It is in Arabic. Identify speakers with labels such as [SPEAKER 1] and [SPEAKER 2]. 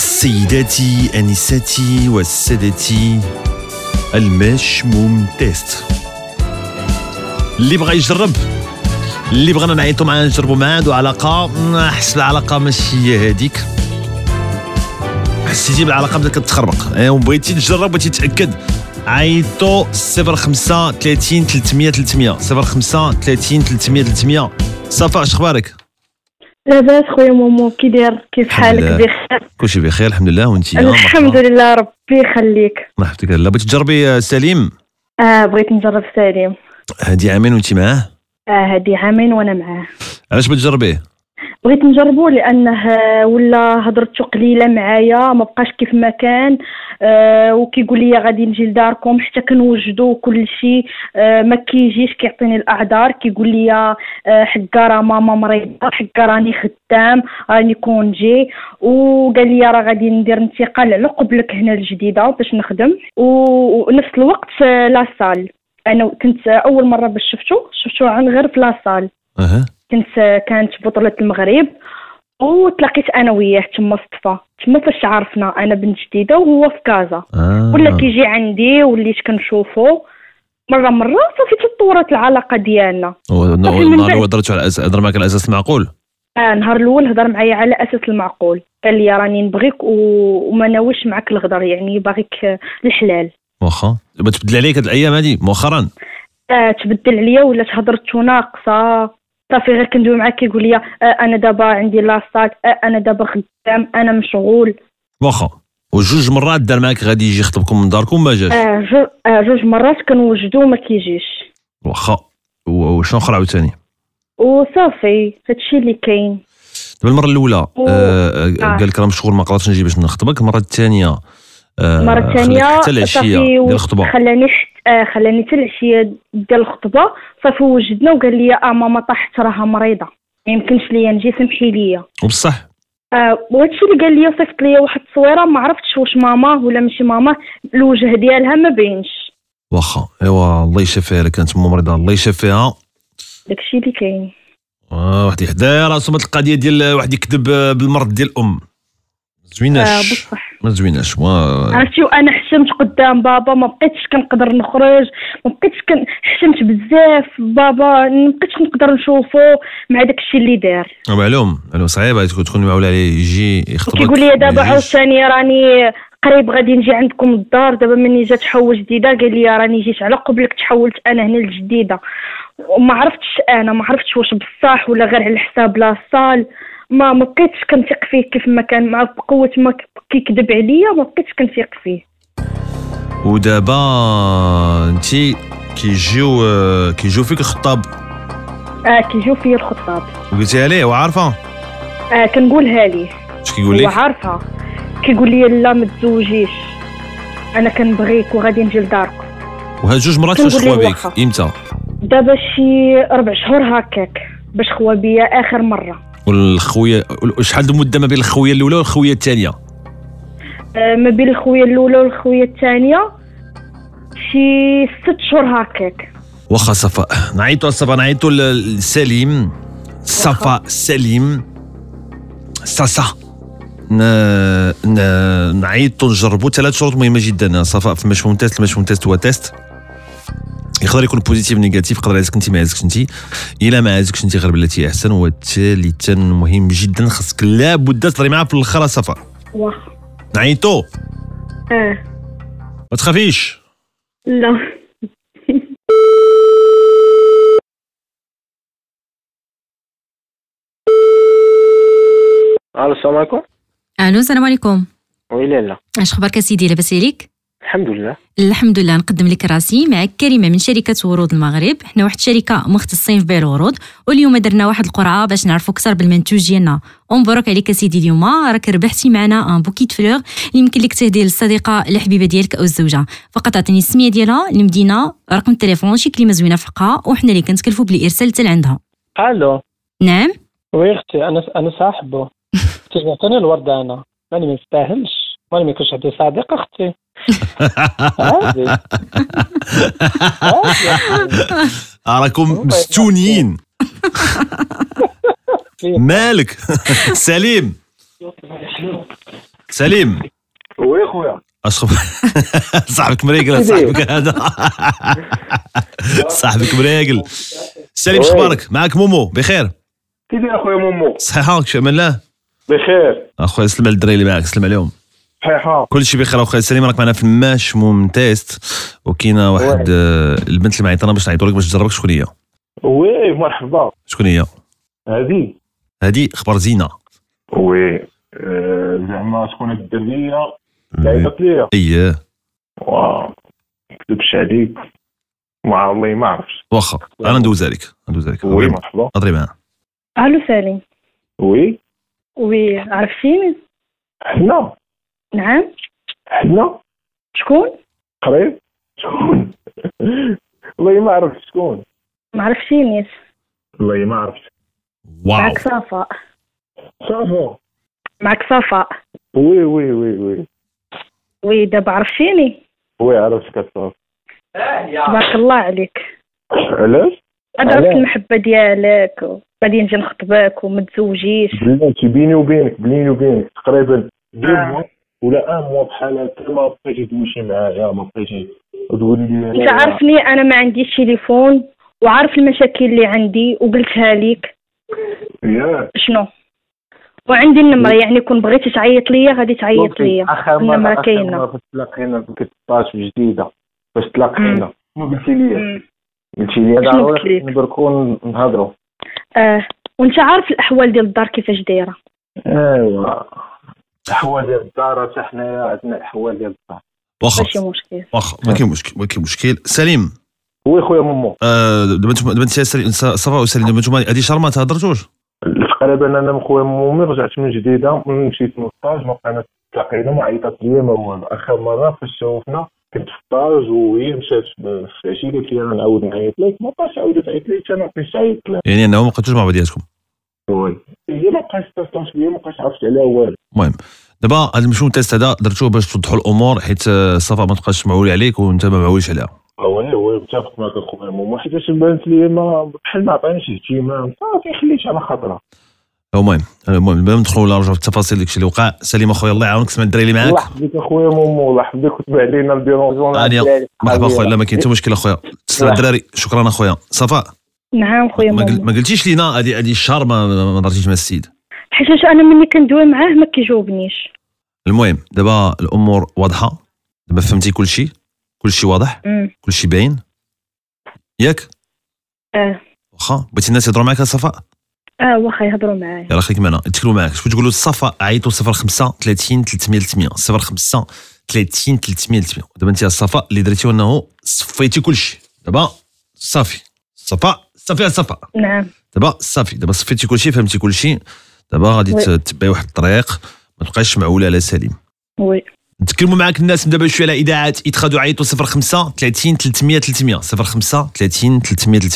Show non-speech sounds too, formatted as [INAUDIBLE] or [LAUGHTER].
[SPEAKER 1] سيداتي أنساتي والسادتي المشموم تيست اللي بغى يجرب اللي بغينا نعيطوا معاه نجربوا معاه عنده علاقة حس العلاقة ماشي هي هذيك حسيتي بالعلاقة بدات كتخربق إيه، وبغيتي تجرب بغيتي تتأكد عيطوا 05 30 300 300 05 30 300 300 صفاء شخبارك
[SPEAKER 2] لاباس خويا مومو كي داير كيف
[SPEAKER 1] الحمد
[SPEAKER 2] حالك
[SPEAKER 1] لله.
[SPEAKER 2] بخير
[SPEAKER 1] كلشي بخير الحمد لله وانت
[SPEAKER 2] الحمد لله ربي يخليك
[SPEAKER 1] الله يحفظك لا بغيتي تجربي آه، سليم
[SPEAKER 2] اه بغيت نجرب سليم
[SPEAKER 1] هادي عامين وانت معاه
[SPEAKER 2] اه هادي عامين وانا معاه
[SPEAKER 1] علاش بتجربيه
[SPEAKER 2] بغيت نجربو لانه آه، ولا هضرته قليله معايا ما بقاش كيف ما كان آه وكيقول لي غادي نجي لداركم حتى كنوجدو كل شيء آه ما كيجيش كيعطيني الاعذار كيقول لي آه حكا راه ماما مريضه حكا راني خدام راني كونجي وقال لي راه غادي ندير انتقال على قبلك هنا الجديده باش نخدم و- ونفس الوقت آه، لا سال انا كنت آه، اول مره باش شفتو شفتو عن غير في لا سال
[SPEAKER 1] اها
[SPEAKER 2] كنت آه، كانت بطولة المغرب وتلاقيت انا وياه تما صدفة تما فاش عرفنا انا بنت جديدة وهو في كازا
[SPEAKER 1] آه.
[SPEAKER 2] ولا كيجي عندي وليت كنشوفو مرة مرة صافي تطورت العلاقة ديالنا
[SPEAKER 1] و-
[SPEAKER 2] صافي طيب، من
[SPEAKER 1] النهار
[SPEAKER 2] بعد.
[SPEAKER 1] اللي هضرت على اساس هضر معك على اساس معقول
[SPEAKER 2] آه نهار الاول هضر معايا على اساس المعقول قال لي راني نبغيك و... وما ناويش معك الغدر يعني باغيك آه، الحلال
[SPEAKER 1] واخا ما تبدل عليك هاد الايام هادي مؤخرا
[SPEAKER 2] آه تبدل عليا ولا هضرته ناقصة صافي غير كندوي معاه كيقول لي آه انا دابا عندي لاصات آه انا دابا خدام انا مشغول
[SPEAKER 1] واخا وجوج مرات دار معاك غادي يجي يخطبكم من داركم ما جاش
[SPEAKER 2] آه، جو- آه، جوج مرات كنوجدو ما كيجيش
[SPEAKER 1] واخا و- وشنو اخر عاوتاني
[SPEAKER 2] وصافي هادشي اللي كاين
[SPEAKER 1] دابا المره الاولى
[SPEAKER 2] أوه.
[SPEAKER 1] آه،
[SPEAKER 2] آه.
[SPEAKER 1] آه، قال لك راه مشغول ما قدرتش نجي باش نخطبك المره الثانيه آه،
[SPEAKER 2] المره
[SPEAKER 1] خلاك
[SPEAKER 2] الثانيه
[SPEAKER 1] حتى العشيه ديال الخطبه
[SPEAKER 2] خلاني حت- آه، خلاني حتى العشيه ديال الخطبه صافي وجدنا وقال لي اه ماما طاحت راها مريضه ما يمكنش ليا نجي سمحي ليا
[SPEAKER 1] وبصح
[SPEAKER 2] آه، وهادشي اللي قال لي صيفط ليا واحد التصويره ما عرفتش واش ماما ولا ماشي ماما الوجه ديالها ما باينش
[SPEAKER 1] واخا ايوا الله يشافيها الا كانت مو مريضه الله يشافيها
[SPEAKER 2] داكشي اللي كاين
[SPEAKER 1] آه، واحد يحدا راسو مات القضيه ديال واحد يكذب آه، بالمرض ديال الام
[SPEAKER 2] آه،
[SPEAKER 1] زويناش
[SPEAKER 2] بصح آه.
[SPEAKER 1] ما زويناش وا-
[SPEAKER 2] عرفتي وانا حشمت قدام بابا ما بقيتش كنقدر نخرج ما بقيتش كن حشمت بزاف بابا ما بقيتش نقدر نشوفه مع داك الشيء اللي دار
[SPEAKER 1] آه، معلوم معلوم صعيبه تكون- تكون معوله عليه يجي يخطبك
[SPEAKER 2] كيقول لي
[SPEAKER 1] ما
[SPEAKER 2] دابا
[SPEAKER 1] يجيش.
[SPEAKER 2] عاوتاني راني قريب غادي نجي عندكم الدار دابا مني جات حول جديده قال لي راني جيت على قبلك تحولت انا هنا الجديده وما عرفتش انا ما عرفتش واش بصح ولا غير على حساب لا صال ما ما بقيتش كنثق فيه كيف ما كان مع بقوه ما كيكذب عليا ما بقيتش كنثق فيه
[SPEAKER 1] ودابا انت كيجيو آه، كيجيو فيك الخطاب
[SPEAKER 2] اه كيجيو فيا الخطاب
[SPEAKER 1] وقلتيها ليه وعارفه
[SPEAKER 2] آه كنقولها ليه
[SPEAKER 1] اش كيقول
[SPEAKER 2] هو
[SPEAKER 1] لك
[SPEAKER 2] عارفها كيقول لي لا ما تزوجيش انا كنبغيك وغادي نجي لدارك
[SPEAKER 1] وهاد جوج مرات فاش
[SPEAKER 2] كنقول ليه
[SPEAKER 1] خوا بك
[SPEAKER 2] واخا.
[SPEAKER 1] امتى
[SPEAKER 2] دابا شي ربع شهور هكاك باش خوا بيا اخر مره
[SPEAKER 1] والخويه شحال المده ما بين الخويه الاولى والخويه الثانيه
[SPEAKER 2] آه ما بين الخويه الاولى والخويه الثانيه شي ست شهور هكاك
[SPEAKER 1] واخا صفاء نعيطوا على صفاء نعيطوا ل- لسليم صفاء سليم ساسا ن... ن... نعيطوا نجربوا ثلاث شروط مهمه جدا صفاء في المشموم تيست المشموم تيست هو تيست يقدر يكون بوزيتيف نيجاتيف يقدر يعزك انت ما يعزكش انت الا ما عزكش انت غير بلاتي احسن وثالثا مهم جدا خاصك لابد تهضري معاه في الاخر صفاء
[SPEAKER 2] واخا
[SPEAKER 1] نعيطوا
[SPEAKER 2] اه
[SPEAKER 1] ما تخافيش
[SPEAKER 2] لا
[SPEAKER 3] الو السلام عليكم
[SPEAKER 4] الو السلام عليكم
[SPEAKER 3] وي لالا
[SPEAKER 4] اش خبارك سيدي لاباس عليك
[SPEAKER 3] الحمد لله
[SPEAKER 4] الحمد لله نقدم لك راسي معك كريمه من شركه ورود المغرب حنا واحد الشركه مختصين في بيع الورود واليوم درنا واحد القرعه باش نعرفوا اكثر بالمنتوج ديالنا ومبروك عليك سيدي اليوم راك ربحتي معنا ان بوكيت فلوغ اللي يمكن لك تهديه للصديقه الحبيبه ديالك او الزوجه فقط عطيني السميه ديالها المدينه رقم التليفون شي كلمه زوينه في حقها وحنا اللي كنتكلفوا بالارسال حتى لعندها
[SPEAKER 5] الو
[SPEAKER 4] نعم
[SPEAKER 5] وي اختي انا انا صاحبه اختي عطيني الورده انا ماني ما نستاهلش ماني ما يكونش عندي صديق اختي عادي عادي.
[SPEAKER 1] راكم مستونيين [LAUGHS] مالك سليم سليم
[SPEAKER 3] [LAUGHS] وي خويا
[SPEAKER 1] اش خبر [LAUGHS] صاحبك مريقل صاحبك [LAUGHS] هذا صاحبك مريقل سليم شخبارك معك مومو بخير
[SPEAKER 3] كي داير اخويا مومو
[SPEAKER 1] صحيحه في امان الله
[SPEAKER 3] بخير
[SPEAKER 1] اخويا سلم على الدراري اللي معاك سلم عليهم
[SPEAKER 3] صحيحه
[SPEAKER 1] كل شيء بخير اخويا سليم راك معنا في ماش موم تيست وكاينه واحد آه، البنت اللي معيطه انا باش نعيطوا لك باش تجربك شكون هي
[SPEAKER 3] وي مرحبا
[SPEAKER 1] شكون هي
[SPEAKER 3] هذه
[SPEAKER 1] هذه اخبار زينه
[SPEAKER 3] وي آه، زعما شكون هاد الدريه لعبت ليا
[SPEAKER 1] اييه
[SPEAKER 3] واو مكتبش عليك مع والله ما عرفتش
[SPEAKER 1] واخا انا ندوز عليك ندوز عليك
[SPEAKER 3] وي مرحبا
[SPEAKER 1] هضري معاه
[SPEAKER 2] الو سليم
[SPEAKER 3] وي
[SPEAKER 2] وي عرفتيني
[SPEAKER 3] حنا
[SPEAKER 2] نعم
[SPEAKER 3] حنا
[SPEAKER 2] شكون
[SPEAKER 3] قريب [LAUGHS] شكون والله ما عرفت شكون
[SPEAKER 2] ما عرفتينيش
[SPEAKER 3] والله ما عرفت
[SPEAKER 1] واو
[SPEAKER 2] معك صفاء
[SPEAKER 3] صافو
[SPEAKER 2] معك صفاء
[SPEAKER 3] وي وي وي وي
[SPEAKER 2] وي دابا عرفتيني
[SPEAKER 3] وي عرفتك صافي
[SPEAKER 2] تبارك الله عليك
[SPEAKER 3] علاش
[SPEAKER 2] ضربت
[SPEAKER 3] علاه؟
[SPEAKER 2] المحبه ديالك غادي نجي نخطبك وما تزوجيش
[SPEAKER 3] بلاتي بيني وبينك بيني وبينك تقريبا دو
[SPEAKER 2] آه.
[SPEAKER 3] موا ولا ان موا بحال هكا ما بقيتي تمشي معايا ما بقيتي تقولي لي
[SPEAKER 2] انت عارفني انا ما عنديش تليفون وعارف المشاكل اللي عندي وقلتها ليك
[SPEAKER 3] ياك
[SPEAKER 2] شنو وعندي النمره يعني كون بغيتي تعيط ليا غادي تعيط ليا
[SPEAKER 3] اخر
[SPEAKER 2] النمرة
[SPEAKER 3] مره اخر
[SPEAKER 2] طيب. كاينة.
[SPEAKER 3] مره فاش تلاقينا في 16 جديده فاش تلاقينا ما قلتي لي
[SPEAKER 2] مم.
[SPEAKER 3] قلتي لي
[SPEAKER 2] شنو قلت
[SPEAKER 3] ضروري
[SPEAKER 2] لك؟
[SPEAKER 3] نبركو نهضروا
[SPEAKER 2] اه وانت عارف الاحوال ديال الدار كيفاش دايره
[SPEAKER 3] ايوا الاحوال ديال الدار حتى حنايا عندنا الاحوال ديال الدار
[SPEAKER 1] واخا
[SPEAKER 2] ماشي مشكل
[SPEAKER 1] واخا ما كاين مشكل ما كاين مشكل سليم
[SPEAKER 3] وي خويا مامو
[SPEAKER 1] آه، دابا انتم دابا انت سليم- ص- صفا وسليم دابا انتم هذه شهر ما تهضرتوش
[SPEAKER 3] تقريبا انا من خويا مامي رجعت من جديده من مشيت من الطاج ما بقينا تلاقينا ما عيطات ليا ما والو اخر مره فاش شوفنا كنت في الطاج وهي مشات في في العشيه قالت لي انا نعاود نعيط لك ما بقاش عاودت عيط لك انا في شيء
[SPEAKER 1] يعني انه ما بقيتوش مع بعضياتكم
[SPEAKER 3] وي هي ما بقاش تستاش ليا ما بقاش عرفت عليها والو
[SPEAKER 1] المهم دابا هذا المشروع تيست هذا درتوه باش توضحوا الامور حيت آه، صفا ما تبقاش معول عليك وانت ما معولش عليها
[SPEAKER 3] آه، وي وي متفق معك اخويا مامو حيتاش بانت لي ما بحال ما عطانيش اهتمام صافي خليت على خاطرها
[SPEAKER 1] المهم المهم المهم ندخلوا نرجعوا في التفاصيل داكشي اللي وقع سليم اخويا الله يعاونك سمع الدراري اللي
[SPEAKER 3] الله
[SPEAKER 1] معاك
[SPEAKER 3] يحفظك اخويا مامو الله يحفظك وتبع علينا الديرونجون
[SPEAKER 1] هانيه مرحبا اخويا لا ما كاين حتى مشكل اخويا تسلم
[SPEAKER 3] لا.
[SPEAKER 1] الدراري شكرا اخويا صفاء
[SPEAKER 2] نعم خويا
[SPEAKER 1] ما قل-
[SPEAKER 2] ماما
[SPEAKER 1] ما قلتيش لينا هذه هذه الشهر ما ما هضرتيش مع السيد
[SPEAKER 2] حيتاش انا ملي كندوي معاه ما كيجاوبنيش
[SPEAKER 1] المهم دابا الامور واضحه دابا فهمتي كل شيء كل شيء واضح
[SPEAKER 2] أمم.
[SPEAKER 1] كل شيء باين ياك
[SPEAKER 2] اه
[SPEAKER 1] واخا بغيتي الناس يهضروا معاك يا صفاء
[SPEAKER 2] اه واخا يهضروا معايا
[SPEAKER 1] يلا خليك معنا يتكلوا معاك شكون تقولوا صفاء عيطوا 05 30 300 300 05 30 300 300 دابا انت يا صفاء اللي درتي انه صفيتي كل شيء دابا صافي صفاء صافي يا صفاء
[SPEAKER 2] نعم
[SPEAKER 1] دابا صافي دابا صفيتي كل شيء فهمتي كل شيء دابا غادي
[SPEAKER 2] وي.
[SPEAKER 1] تتبعي واحد الطريق ما تبقاش معوله على سليم
[SPEAKER 2] وي
[SPEAKER 1] نتكلموا معاك الناس من دابا شويه على اذاعات يتخادوا عيطوا 05 30 300 300 05 30 300 300